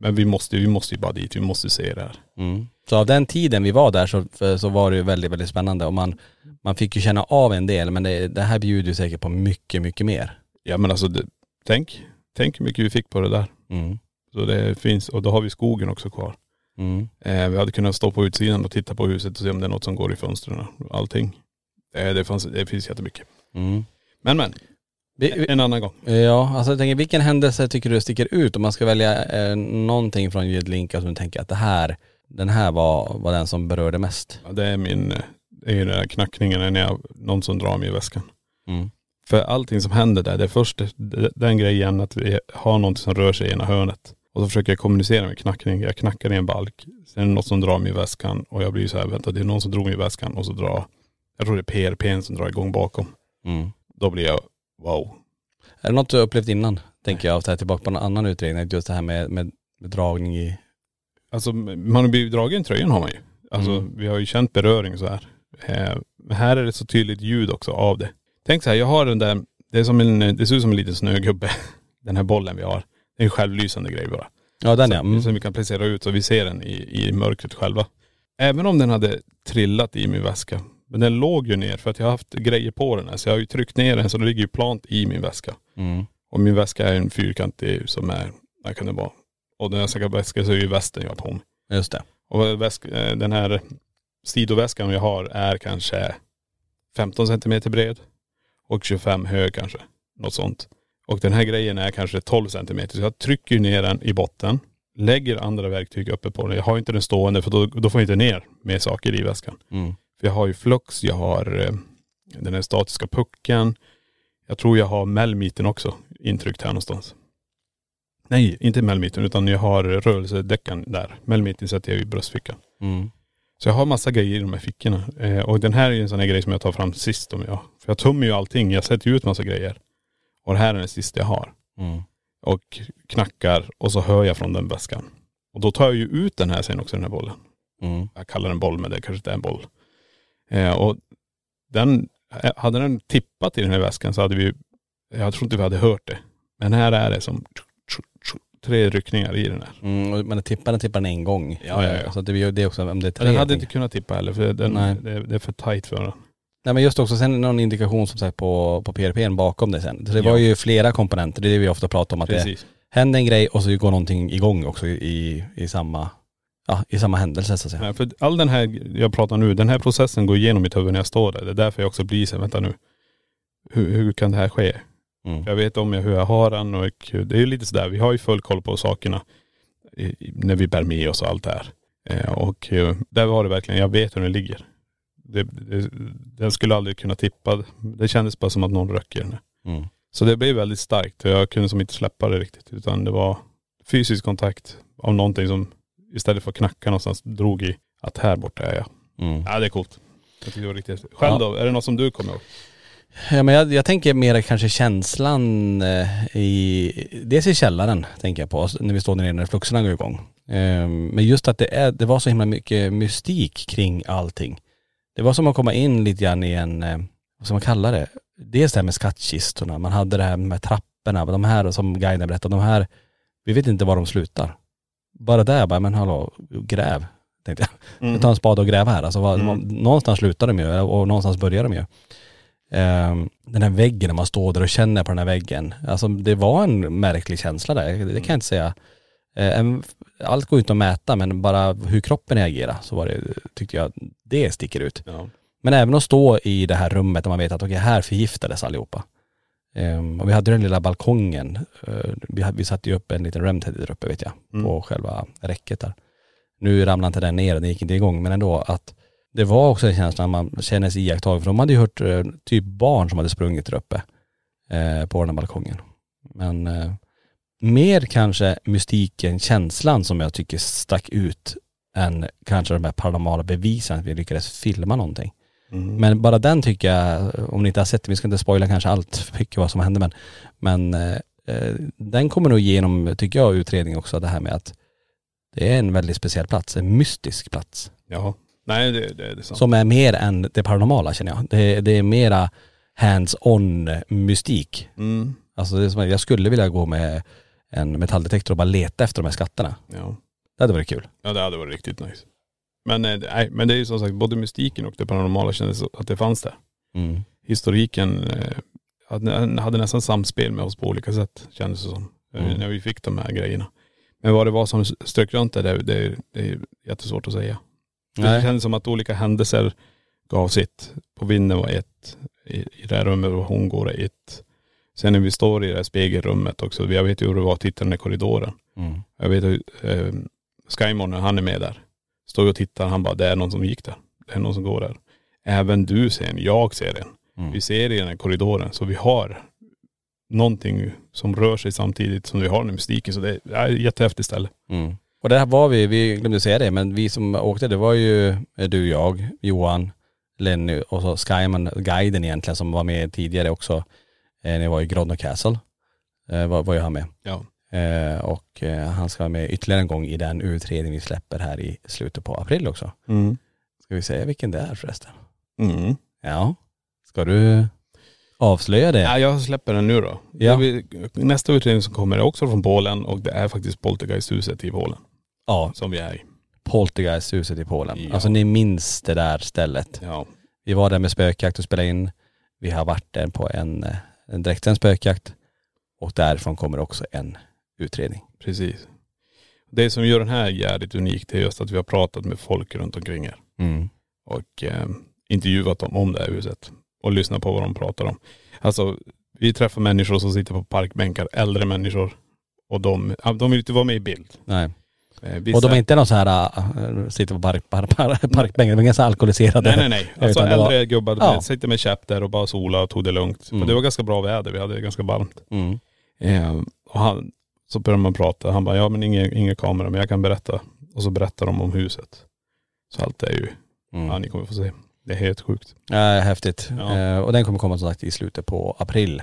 S5: men vi måste, vi måste ju bara dit, vi måste se det här.
S4: Så av den tiden vi var där så, för- så var det ju väldigt, väldigt spännande. Och man, man fick ju känna av en del men det, det här bjuder ju säkert på mycket, mycket mer.
S5: Ja men alltså, det, tänk, tänk hur mycket vi fick på det där.
S4: Mm.
S5: Så det finns, och då har vi skogen också kvar.
S4: Mm.
S5: Eh, vi hade kunnat stå på utsidan och titta på huset och se om det är något som går i fönstren och allting. Eh, det, fanns, det finns jättemycket.
S4: Mm.
S5: Men men,
S4: Vi, vi,
S5: en annan gång.
S4: Ja, alltså jag tänker vilken händelse tycker du sticker ut om man ska välja eh, någonting från Jedlinka som du tänker att det här, den här var, var den som berörde mest?
S5: Ja, det är min, eh, det är ju den där knackningen när jag, någon som drar mig i väskan.
S4: Mm.
S5: För allting som händer där, det är först d- den grejen att vi har någonting som rör sig i ena hörnet. Och så försöker jag kommunicera med knackning. Jag knackar i en balk. Sen är det något som drar mig i väskan och jag blir ju så här, vänta det är någon som drog mig i väskan och så drar, jag tror det är PRPn som drar igång bakom. Då blir jag, wow.
S4: Är det något du har upplevt innan? Tänker jag, och tar tillbaka på en annan utredning, just det här med, med, med dragning i..
S5: Alltså man har blivit dragen i tröjan har man ju. Alltså
S4: Mm.
S5: vi har ju känt beröring så här. Eh, Men här är det så tydligt ljud också av det. Tänk så här, jag har den där, det, är som en, det ser ut som en liten snögubbe. Den här bollen vi har. Det är en självlysande grej bara.
S4: Ja den
S5: så,
S4: ja. Mm.
S5: Som vi kan placera ut så vi ser den i, i mörkret själva. Även om den hade trillat i min väska. Men den låg ju ner för att jag har haft grejer på den här. Så jag har ju tryckt ner den så den ligger ju plant i min väska.
S4: Mm.
S5: Och min väska är en fyrkantig som är, vad kan det vara? Och när jag snackar väska så är ju västen jag har på mig.
S4: Just det.
S5: Och väsk, eh, den här sidoväskan jag har är kanske 15 centimeter bred och 25 hög kanske. Något sånt. Och den här grejen är kanske 12 centimeter. Så jag trycker ju ner den i botten, lägger andra verktyg uppe på den. Jag har inte den stående för då, då får jag inte ner mer saker i väskan.
S4: Mm.
S5: För jag har ju flux, jag har eh, den här statiska pucken. Jag tror jag har melmiten också intryckt här någonstans. Nej, inte melmiten utan jag har rörelsedäckan där. Melmiten sätter jag i bröstfickan.
S4: Mm.
S5: Så jag har massa grejer i de här fickorna. Eh, och den här är ju en sån här grej som jag tar fram sist om jag.. För jag tömmer ju allting. Jag sätter ju ut massa grejer. Och det här är den sista jag har.
S4: Mm.
S5: Och knackar och så hör jag från den väskan. Och då tar jag ju ut den här sen också, den här bollen
S4: Mm.
S5: jag kallar den boll men det kanske inte är en boll. Eh, och den, eh, hade den tippat i den här väskan så hade vi, jag tror inte vi hade hört det. Men här är det som tre ryckningar i den här.
S4: Mm. och- Men det tippar den tippar den en gång.
S5: Ja, ja, ja.
S4: Så att det, det är också om det är tre.
S5: Den hade
S4: jag
S5: inte kunnat tippa heller för den,
S4: Nej.
S5: det, det är för tight för den.
S4: Nej men just också sen någon indikation som sagt på, på PRPn bakom det sen. Så det var
S5: Ja.
S4: ju flera komponenter, det är det vi ofta pratar om att det
S5: Precis.
S4: händer en grej och så går någonting igång också i, i samma, ja i samma händelse så att säga.
S5: Nej, för all den här jag pratar nu, den här processen går igenom mitt huvud när jag står där. Det är därför jag också blir så här, vänta nu. Hur, hur kan det här ske?
S4: Mm.
S5: Jag vet om jag, hur jag har den och det är ju lite sådär, vi har ju full koll på sakerna i, i- när vi bär med oss och allt det här. Eh, och eh, där var det verkligen, jag vet hur den ligger. Det, det, den skulle aldrig kunna tippa. Det kändes bara som att någon röck i den. här.
S4: Mm.
S5: Så det blev väldigt starkt och jag kunde som inte släppa det riktigt utan det var fysisk kontakt av någonting som istället för att knacka någonstans drog i att här borta är jag.
S4: Mm.
S5: Ja det är coolt. Jag tycker det var riktigt häftigt. Själv då, är det något som du kommer ihåg?
S4: Ja, men jag, jag tänker mer kanske känslan eh, i, dels i källaren tänker jag på, alltså när vi står där nere när fluxerna går igång. Ehm, men just att det, är, det var så himla mycket mystik kring allting. Det var som att komma in lite grann i en, eh, vad ska man kalla det? Dels det här med skattkistorna, man hade det här med trapporna, de här som guiden berättade, de här, vi vet inte var de slutar. Bara där bara, men hallå, gräv, tänkte jag. Ta en spade och gräv här. Alltså, vad- Någonstans slutar de ju och någonstans börjar de ju. Ehm, den här väggen, när man står där och känner på den här väggen. Alltså det var en märklig känsla där, det kan jag inte säga. Eh, en- allt går ju inte att mäta men bara hur kroppen reagerar så var det, tyckte jag, det sticker ut.
S5: Ja.
S4: Men även att stå i det här rummet där man vet att okej, här förgiftades allihopa. Ehm, och vi hade ju den lilla balkongen. Eh, vi, hade, vi satte ju upp en liten remteddy där uppe vet jag, på själva räcket där. Nu ramlade inte den ner, den gick inte igång, men ändå att det var också en känsla när man känner sig iakttagen, för de hade ju hört eh, typ barn som hade sprungit där uppe eh, på den här balkongen. Men eh, mer kanske mystiken, känslan som jag tycker stack ut än kanske de här paranormala bevisen att vi lyckades filma någonting. Men bara den tycker jag, om ni inte har sett det, vi ska inte spoila kanske allt, mycket vad som hände men, men eh, eh, den kommer nog igenom, tycker jag, utredning också, det här med att det är en väldigt speciell plats, en mystisk plats.
S5: Ja. Nej det, det, det är sant.
S4: Som är mer än det paranormala känner jag. Det, det är mera hands-on mystik.
S5: Mm.
S4: Alltså det är som, att jag skulle vilja gå med en metalldetektor och bara leta efter de här skatterna.
S5: Ja.
S4: Det hade varit kul.
S5: ja det hade varit riktigt nice. Men, eh, nej, men det är ju som sagt både mystiken och det paranormala kändes att det fanns där. Historiken eh, hade, hade nästan samspel med oss på olika sätt kändes det som. eh,
S4: Mm.
S5: När vi fick de här grejerna. Men vad det var som strök runt det, där, det, är- det är jättesvårt att säga. Det
S4: Nej.
S5: kändes som att olika händelser gav sitt. På vinden var ett, i, i det här rummet var hon går är ett. Sen när vi står i det här spegelrummet också, jag vet ju hur det var att titta i korridoren.
S4: Mm.
S5: Jag vet hur eh, Skymon, när han är med där, står ju och tittar, han bara, det är någon som gick där. Det är någon som går där. Även du ser en, jag ser en.
S4: Mm.
S5: Vi ser i den här korridoren, så vi har någonting som rör sig samtidigt som vi har den här mystiken. Så det är, det är ett jättehäftigt ställe.
S4: Mm. Och där var vi, vi glömde säga det, men vi som åkte det var ju eh, du, jag, Johan, Lenny och så Skyman, guiden egentligen som var med tidigare också. Eh, ni var i Grodno Castle, eh, var, var ju han med.
S5: Ja.
S4: Eh, och eh, han ska vara med ytterligare en gång i den utredning vi släpper här i slutet på april också.
S5: Mm.
S4: Ska vi säga vilken det är förresten?
S5: Mm.
S4: Ja. Ska du avslöja det?
S5: Ja, jag släpper den nu då.
S4: Ja.
S5: Det är vi- Nästa utredning som kommer är också från Polen och det är faktiskt Poltergeisthuset i Polen
S4: Ja,
S5: som vi är i.
S4: Poltergeisthuset i Polen.
S5: Ja.
S4: Alltså ni minns det där stället.
S5: Ja.
S4: Vi var där med spökjakt och spelade in. Vi har varit där på en, eh, en direktsänd spökjakt. Och därifrån kommer också en utredning.
S5: Precis. Det som gör den här jävligt unik det är just att vi har pratat med folk runt omkring er och eh, intervjuat dem om det här huset och lyssnat på vad de pratar om. Alltså vi träffar människor som sitter på parkbänkar, äldre människor och de, ja, de vill inte vara med i bild.
S4: Nej.
S5: Eh,
S4: Och
S5: vissa-
S4: de är inte någon så här, äh, sitter på park, park, park, parkbänken, de är ganska alkoholiserade.
S5: Nej nej nej. Alltså
S4: Utan det var-
S5: äldre gubbar,
S4: Ja.
S5: de sitter med käpp där och bara sola och tog det lugnt.
S4: Mm.
S5: För det var ganska bra väder, vi hade det ganska varmt.
S4: Mm.
S5: Eh, och han, så börjar man prata. Han bara, ja men inga, inga kameror men jag kan berätta. Och så berättar de om huset. Så allt är ju,
S4: Mm.
S5: ja ni kommer få se. Det är helt sjukt.
S4: Ja, häftigt.
S5: Ja.
S4: Eh, och den kommer komma som sagt i slutet på april.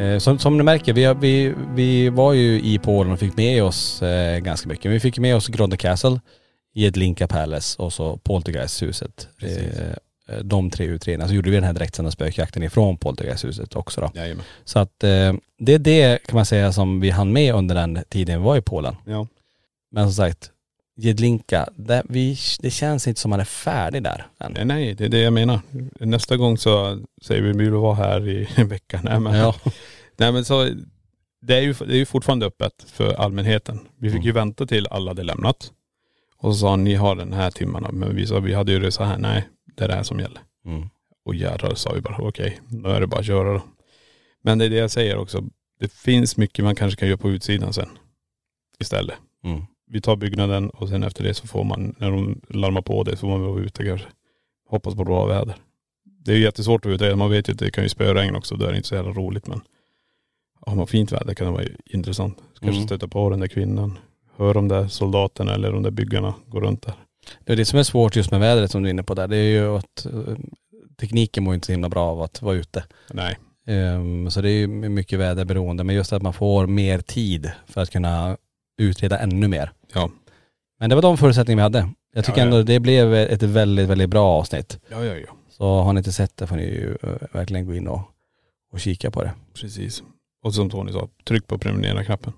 S4: Eh, som, som ni märker, vi, har- vi, vi var ju i Polen och fick med oss eh, ganska mycket. Vi fick med oss Grodno Castle, Jedlinka Palace och så Poltergeisthuset.
S5: Precis.
S4: Eh, eh, de tre utredningarna. Så gjorde vi den här direktsända spökjakten ifrån Poltergeisthuset också då.
S5: Jajamän.
S4: Så att eh, det är det kan man säga som vi hann med under den tiden vi var i Polen.
S5: Ja.
S4: Men som sagt, Jedlinka, det, vi, det känns inte som man är färdig där än.
S5: Nej, nej det är det jag menar. Nästa gång så säger vi, vi vill vara här i en vecka. Nej men,
S4: Ja.
S5: nej, men så, det är, ju, det är ju fortfarande öppet för allmänheten. Vi fick ju vänta till alla hade lämnat. Och så sa han, ni har den här timmarna. Men vi sa, vi hade ju det så här, nej det är det här som gäller.
S4: Mm.
S5: Och jädrar sa vi bara okej, nu är det bara att köra då. Men det är det jag säger också. Det- Det finns mycket man kanske kan göra på utsidan sen istället.
S4: Mm.
S5: Vi tar byggnaden och sen efter det så får man, när de larmar på det så får man vara ute kanske. Hoppas på bra väder. Det är ju jättesvårt att utreda, man vet ju att det kan ju spöregn också, då är det inte så jävla roligt men har man fint väder kan det vara intressant. Kanske
S4: Mm.
S5: stöta på den där kvinnan, hör de där soldaterna eller de där byggarna gå runt där.
S4: Det är det som är svårt just med vädret som du är inne på där. Det är ju att eh, tekniken mår inte så himla bra av att vara ute.
S5: Nej.
S4: Ehm, så det är ju mycket väderberoende. Men just att man får mer tid för att kunna utreda ännu mer.
S5: Ja.
S4: Men det var de förutsättningar vi hade. Jag tycker
S5: Ja, ja.
S4: ändå det blev ett väldigt, väldigt bra avsnitt.
S5: Ja, ja, ja.
S4: Så har ni inte sett det får ni ju eh, verkligen gå in och, och kika på det.
S5: Precis. Och som Tony sa, tryck på prenumerera-knappen.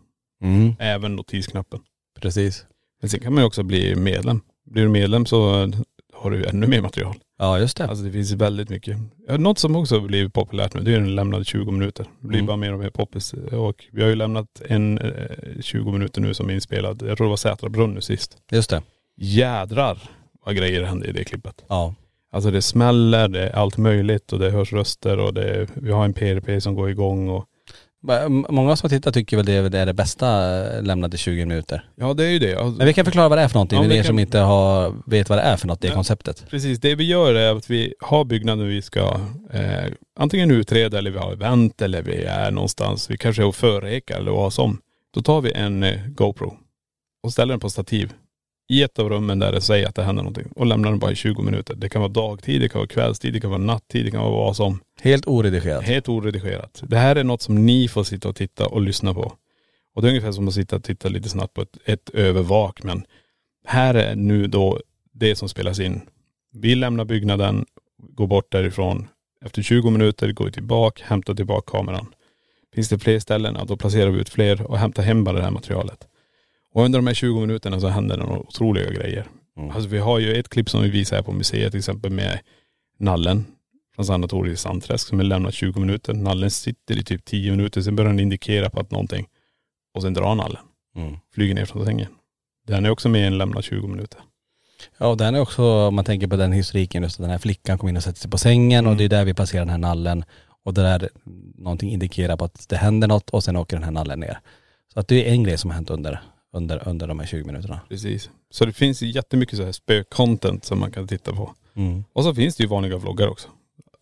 S5: Även notisknappen.
S4: Precis.
S5: Men sen kan man ju också bli medlem. Blir du medlem så eh, har du ännu mer material.
S4: Ja just det.
S5: Alltså det finns väldigt mycket. Ja, Något som också blivit populärt nu, det är den lämnade 20 minuter. Det blir
S4: Mm.
S5: bara mer och mer poppis. Och vi har ju lämnat en eh, 20 minuter nu som är inspelad. Jag tror det var Sätra brunn nu sist.
S4: Just det.
S5: Jädrar vad grejer hände i det klippet.
S4: Ja.
S5: Alltså det smäller, det är allt möjligt och det hörs röster och det är, vi har en PRP som går igång och
S4: Men, m- Många som tittar tycker väl det det är det bästa eh, lämnade 20 minuter.
S5: ja det är ju det. Alltså-
S4: Men vi kan förklara vad det är för någonting
S5: Ja,
S4: för
S5: vi
S4: er
S5: kan-
S4: som inte har, vet vad det är för något, det
S5: Ja.
S4: konceptet.
S5: Precis, det vi gör är att vi har byggnaden vi ska eh, antingen utreda eller vi har event eller vi är någonstans, vi kanske är och förrekar eller vad som. Då tar vi en eh, GoPro och ställer den på stativ i ett av rummen där det säger att det händer någonting och lämnar den bara i 20 minuter. Det kan vara dagtid, det kan vara kvällstid, det kan vara nattid, det kan vara vad som.
S4: Helt oredigerat.
S5: Helt oredigerat. Det här är något som ni får sitta och titta och lyssna på. Och det är ungefär som att sitta och titta lite snabbt på ett, ett övervak. Men här är nu då det som spelas in. Vi lämnar byggnaden, går bort därifrån. Efter 20 minuter går vi tillbaka, hämtar tillbaka kameran. Finns det fler ställen, ja, då placerar vi ut fler och hämtar hem bara det här materialet. Och under de här 20 minuterna så händer det några otroliga grejer. Alltså vi har ju ett klipp som vi visar här på museet till exempel med nallen från sanatoriet i Sandträsk som är lämnat 20 minuter. Nallen sitter i typ 10 minuter, sen börjar den indikera på att någonting. Och sen drar nallen,
S4: Mm.
S5: flyger ner från sängen. Den är också med i en lämnad 20 minuter.
S4: Ja och den är också, om man tänker på den historiken, just att den här flickan kom in och sätter sig på sängen
S5: Mm.
S4: och det är där vi passerar den här nallen. Och det där någonting indikerar på att det händer något och sen åker den här nallen ner. Så att det är en grej som har hänt under, under, under de här 20 minuterna.
S5: Precis. Så det finns ju jättemycket så här spökcontent som man kan titta på. Och så finns det ju vanliga vloggar också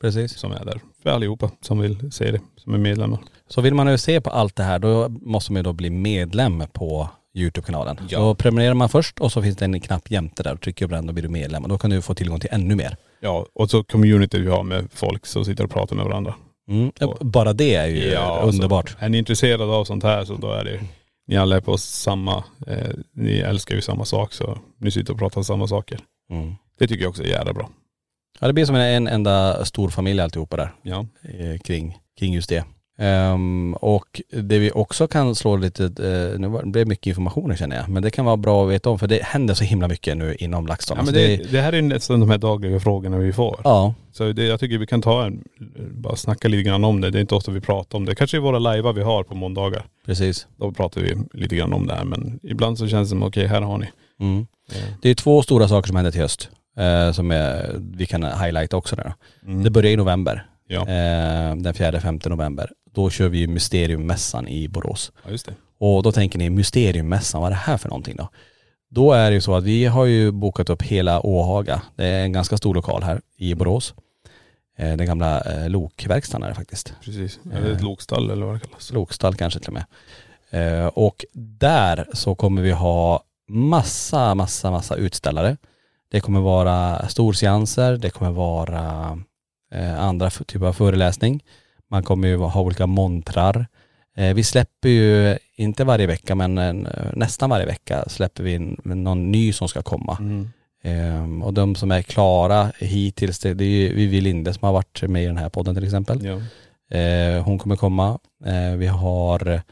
S4: Precis.
S5: som är där. För allihopa som vill se det, som är medlemmar.
S4: Så vill man ju se på allt det här då måste man ju då bli medlem på Youtube-kanalen.
S5: Ja.
S4: Så prenumererar man först och så finns det en knapp jämte där. Trycker du på den då blir du medlem och då kan du få tillgång till ännu mer.
S5: Ja, och så community vi har med folk som sitter och pratar med varandra.
S4: Mm. Bara det är ju
S5: alltså,
S4: underbart.
S5: är ni intresserade av sånt här så då är det ni alla är på samma, eh, ni älskar ju samma sak så ni sitter och pratar samma saker.
S4: Mm.
S5: Det tycker jag också är jävla bra.
S4: Ja det blir som en, en enda stor familj alltihopa där.
S5: Ja.
S4: eh, kring, kring just det. Ehm, och det vi också kan slå lite, eh, nu var- det blev mycket information känner jag, men det kan vara bra att veta om för det händer så himla mycket nu inom LaxTon.
S5: ja men
S4: Alltså
S5: det, det här är ju nästan de här dagliga frågorna vi får.
S4: ja,
S5: Så det, jag tycker vi kan ta en, bara snacka lite grann om det. Det är inte ofta vi pratar om det. Kanske i våra lajvar vi har på måndagar.
S4: precis.
S5: Då pratar vi lite grann om det här men ibland så känns det som okej här har ni.
S4: Mm. Det är två stora saker som händer till höst eh, som är, vi kan highlighta också. Där. Det börjar i november,
S5: Mm. Ja,
S4: eh, den 4-5 november. Då kör vi ju Mysteriummässan i Borås.
S5: ja just det.
S4: Och då tänker ni mysteriummässan, vad är det här för någonting då? Då är det ju så att vi har ju bokat upp hela Åhaga. Det är en ganska stor lokal här i Borås. Eh, Den gamla eh, lokverkstaden är det faktiskt.
S5: Precis. Är det ett lokstall eller vad det kallas?
S4: Eh. Lokstall kanske till och med. Eh, Och där så kommer vi ha massa, massa, massa utställare. Det kommer vara storseanser, det kommer vara eh, andra f- typer av föreläsning. Man kommer ju ha olika montrar. Eh, Vi släpper ju, inte varje vecka men en, nästan varje vecka släpper vi in någon ny som ska komma.
S5: Mm.
S4: Ehm, Och de som är klara hittills, det det är ju Vivi Linde som har varit med i den här podden till exempel.
S5: Ja.
S4: Eh, hon kommer komma. Eh, vi har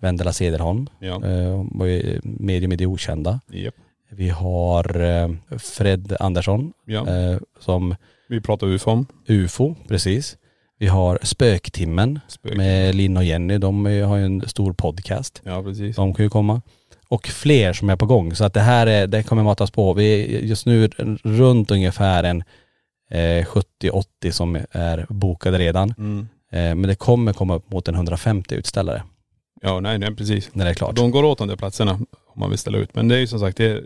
S4: Vendela Cederholm,
S5: Ja.
S4: eh, hon var ju medium i det okända.
S5: Japp.
S4: Vi har eh, Fred Andersson
S5: Ja.
S4: eh, som
S5: Vi pratar UFOM.
S4: UFO, precis. Vi har Spöktimmen
S5: Spök.
S4: med Linn och Jenny, de är- har ju en stor podcast.
S5: Ja precis.
S4: De kan ju komma. Och fler som är på gång. Så att det här är, det kommer matas på. Vi är just nu runt ungefär en eh, 70-80 som är bokade redan.
S5: Mm.
S4: Eh, Men det kommer komma upp mot en 150 utställare.
S5: Ja, nej, nej precis.
S4: När det är klart.
S5: De går åt de där platserna om man vill ställa ut. Men det är ju som sagt, det är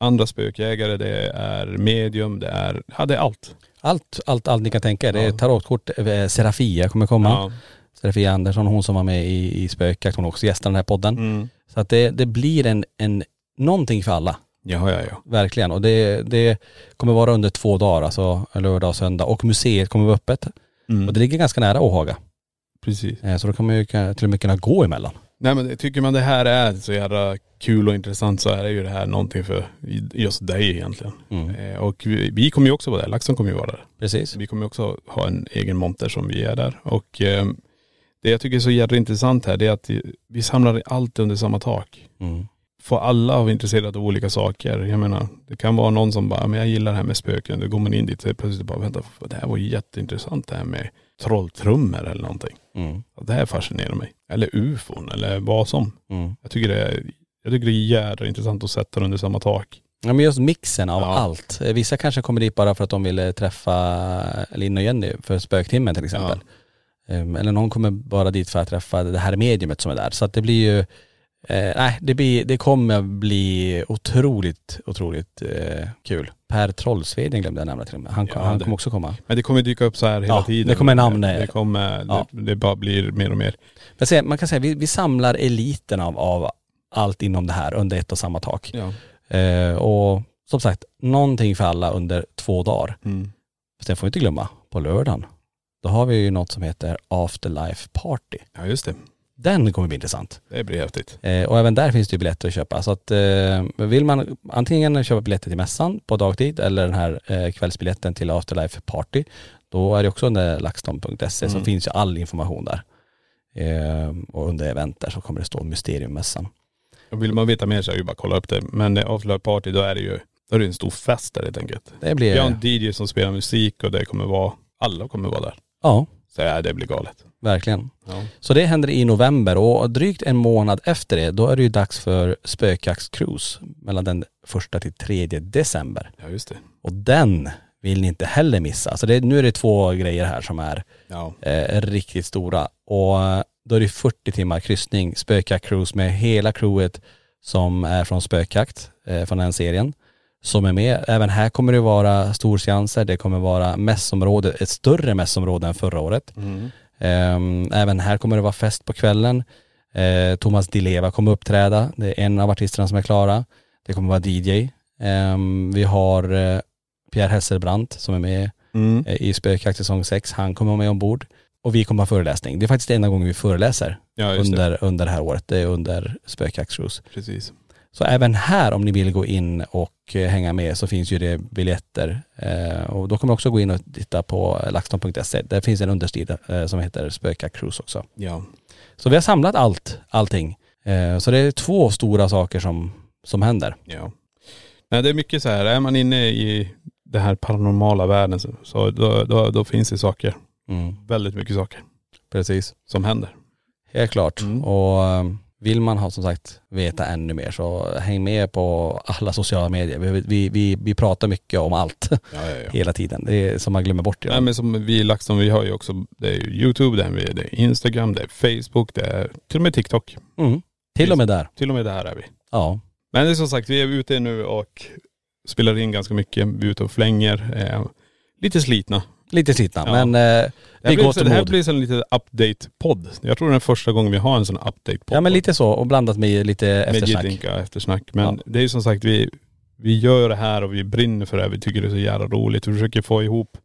S5: andra spökjägare, det är medium, det är, ja det är allt.
S4: Allt, allt, allt ni kan tänka er. Det är
S5: Ja.
S4: tarotkort, eh, Serafia kommer komma.
S5: Ja.
S4: Serafia Andersson, hon som var med i, i Spökjakt, hon är också gästar den här podden.
S5: Mm.
S4: Så att det, det blir en, en, någonting för alla,
S5: Ja, ja, ja.
S4: verkligen. Och det, det kommer vara under två dagar, alltså lördag och söndag. Och museet kommer vara öppet.
S5: Mm.
S4: Och det ligger ganska nära Åhaga.
S5: Precis.
S4: Eh, Så då kommer ju kunna- till och med kunna gå emellan.
S5: Nej men det- tycker man det här är så jävla kul och intressant så är det ju det här någonting för just dig egentligen. Eh, och vi, vi kommer ju också vara där, LaxTon kommer ju vara där.
S4: Mm. Precis.
S5: Vi kommer ju också ha en egen monter som vi är där. Och eh, det jag tycker är så jävla intressant här det är att vi samlar allt under samma tak.
S4: Mm.
S5: för alla har intresserade av olika saker. Jag menar, det kan vara någon som bara, men jag gillar det här med spöken. Då går man in dit och plötsligt bara, vänta, det här var ju jätteintressant det här med trolltrummor eller någonting.
S4: Mm.
S5: Det här fascinerar mig. Eller ufon eller vad som.
S4: Mm.
S5: Jag tycker det är, jag tycker det är jävla intressant att sätta det under samma tak.
S4: Ja men just mixen av
S5: Ja.
S4: allt. Eh, Vissa kanske kommer dit bara för att de ville träffa Linn och Jenny för spöktimmen till exempel. Ehm, Eller någon kommer bara dit för att träffa det här mediumet som är där. Så att det blir ju, eh, nej det, blir, det kommer bli otroligt, otroligt eh, kul. Per Trollsveden glömde jag nämna till och med. Han,
S5: Ja,
S4: han
S5: det-
S4: kommer också komma.
S5: Men det kommer dyka upp så här hela
S4: Ja,
S5: tiden.
S4: det kommer namn, eh,
S5: Det kommer,
S4: ja.
S5: det, det bara blir mer och mer.
S4: Men se, man kan säga vi, vi samlar eliten av, av allt inom det här under ett och samma tak.
S5: Ja.
S4: Eh, och som sagt, någonting för alla under två dagar.
S5: Mm.
S4: Sen får vi inte glömma, på lördagen, då har vi ju något som heter Afterlife Party.
S5: ja, just det.
S4: Den kommer bli intressant.
S5: Det blir häftigt.
S4: Eh, och även där finns det ju biljetter att köpa. Så att eh, vill man antingen köpa biljetter till mässan på dagtid eller den här eh, kvällsbiljetten till Afterlife Party, då är det också under laxton.se så finns ju all information där. Eh, och under event där så kommer det stå mysteriummässan.
S5: Och vill man vita mer så är det ju bara att kolla upp det. Men eh, afterlife party då är det ju, då är det en stor fest där helt enkelt.
S4: Det blir,
S5: Vi har
S4: ja,
S5: en DJ som spelar musik och det kommer vara, alla kommer vara där. Så ja, det blir galet.
S4: verkligen.
S5: Ja.
S4: Så det händer i november och drygt en månad efter det, då är det ju dags för spökjaktscruise mellan den första till tredje december.
S5: Ja just det.
S4: Och den vill ni inte heller missa. Så det, nu är det två grejer här som är
S5: Ja.
S4: eh, riktigt stora. Och eh, då är det 40 timmar kryssning, spökjaktcruise med hela crewet som är från spökjakt, eh, från den serien, som är med. Även här kommer det vara storseanser, det kommer vara mässområde, ett större mässområde än förra året. Ehm, Även här kommer det vara fest på kvällen. Eh, Thomas Di Leva kommer uppträda. Det är en av artisterna som är klara. Det kommer vara DJ. Ehm, Vi har eh, Pierre Hesselbrandt som är med
S5: Mm.
S4: eh, i Spökjakt säsong 6. Han kommer vara med ombord. Och vi kommer ha föreläsning. Det är faktiskt enda gången vi föreläser
S5: Ja just det.
S4: under, under det här året. Det är under Spökjaktscruise.
S5: Precis.
S4: Så även här om ni vill gå in och eh, hänga med så finns ju det biljetter. Eh, och då kommer jag också gå in och titta på eh, laxton.se. Där finns en undersida eh, som heter Spökjaktcruise också.
S5: Ja.
S4: Så vi har samlat allt, allting. Eh, så det är två stora saker som, som händer.
S5: Ja. Nej det är mycket så här, är man inne i den här paranormala världen så, så då, då, då finns det saker.
S4: Mm.
S5: Väldigt mycket saker
S4: Precis.
S5: som händer.
S4: Helt klart.
S5: Mm.
S4: Och eh, vill man ha som sagt veta ännu mer så häng med på alla sociala medier. Vi, vi, vi, vi pratar mycket om allt
S5: Ja ja ja.
S4: hela tiden. Det är som man glömmer bort.
S5: Nej men som vi i LaxTon, vi har ju också, det är ju Youtube, det är, det är Instagram, det är Facebook, det är till och med TikTok.
S4: Mm. Till och med där.
S5: Till och med det här är vi.
S4: Ja.
S5: Men det är som sagt, vi är ute nu och spelar in ganska mycket. Vi är ute och flänger. Eh, lite slitna.
S4: Lite slitna
S5: Ja.
S4: men eh,
S5: Det här,
S4: vi
S5: blir,
S4: går
S5: så,
S4: till
S5: det här
S4: mod.
S5: blir så en liten update-podd. Jag tror det är första gången vi har en sån update-podd.
S4: Ja men lite så och blandat med lite
S5: Med
S4: eftersnack.
S5: Jiddinka eftersnack. Men
S4: Ja.
S5: det är ju som sagt, vi, vi gör det här och vi brinner för det här. Vi tycker det är så jävla roligt. Vi försöker få ihop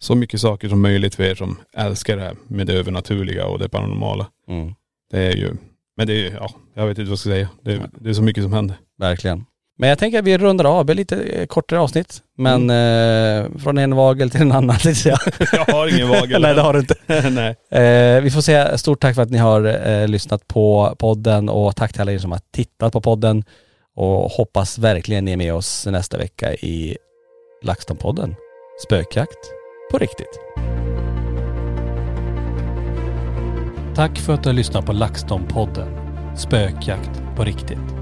S5: så mycket saker som möjligt för er som älskar det här med det övernaturliga och det paranormala.
S4: Mm.
S5: Det är ju, men det är ju, ja, jag vet inte vad jag ska säga. Det, är- det är så mycket som händer.
S4: Verkligen. Men jag tänker att vi rundar av, det blir lite eh, kortare avsnitt. Men eh, från en vagel till en annan tänkte jag säga.
S5: Jag har ingen Mm. vagel.
S4: Nej det har du inte.
S5: Nej.
S4: Eh, vi får säga stort tack för att ni har eh, lyssnat på podden och tack till alla er som har tittat på podden. Och hoppas verkligen ni är med oss nästa vecka i LaxTon-podden. Spökjakt på riktigt. Tack för att du har lyssnat på LaxTon-podden. Spökjakt på riktigt.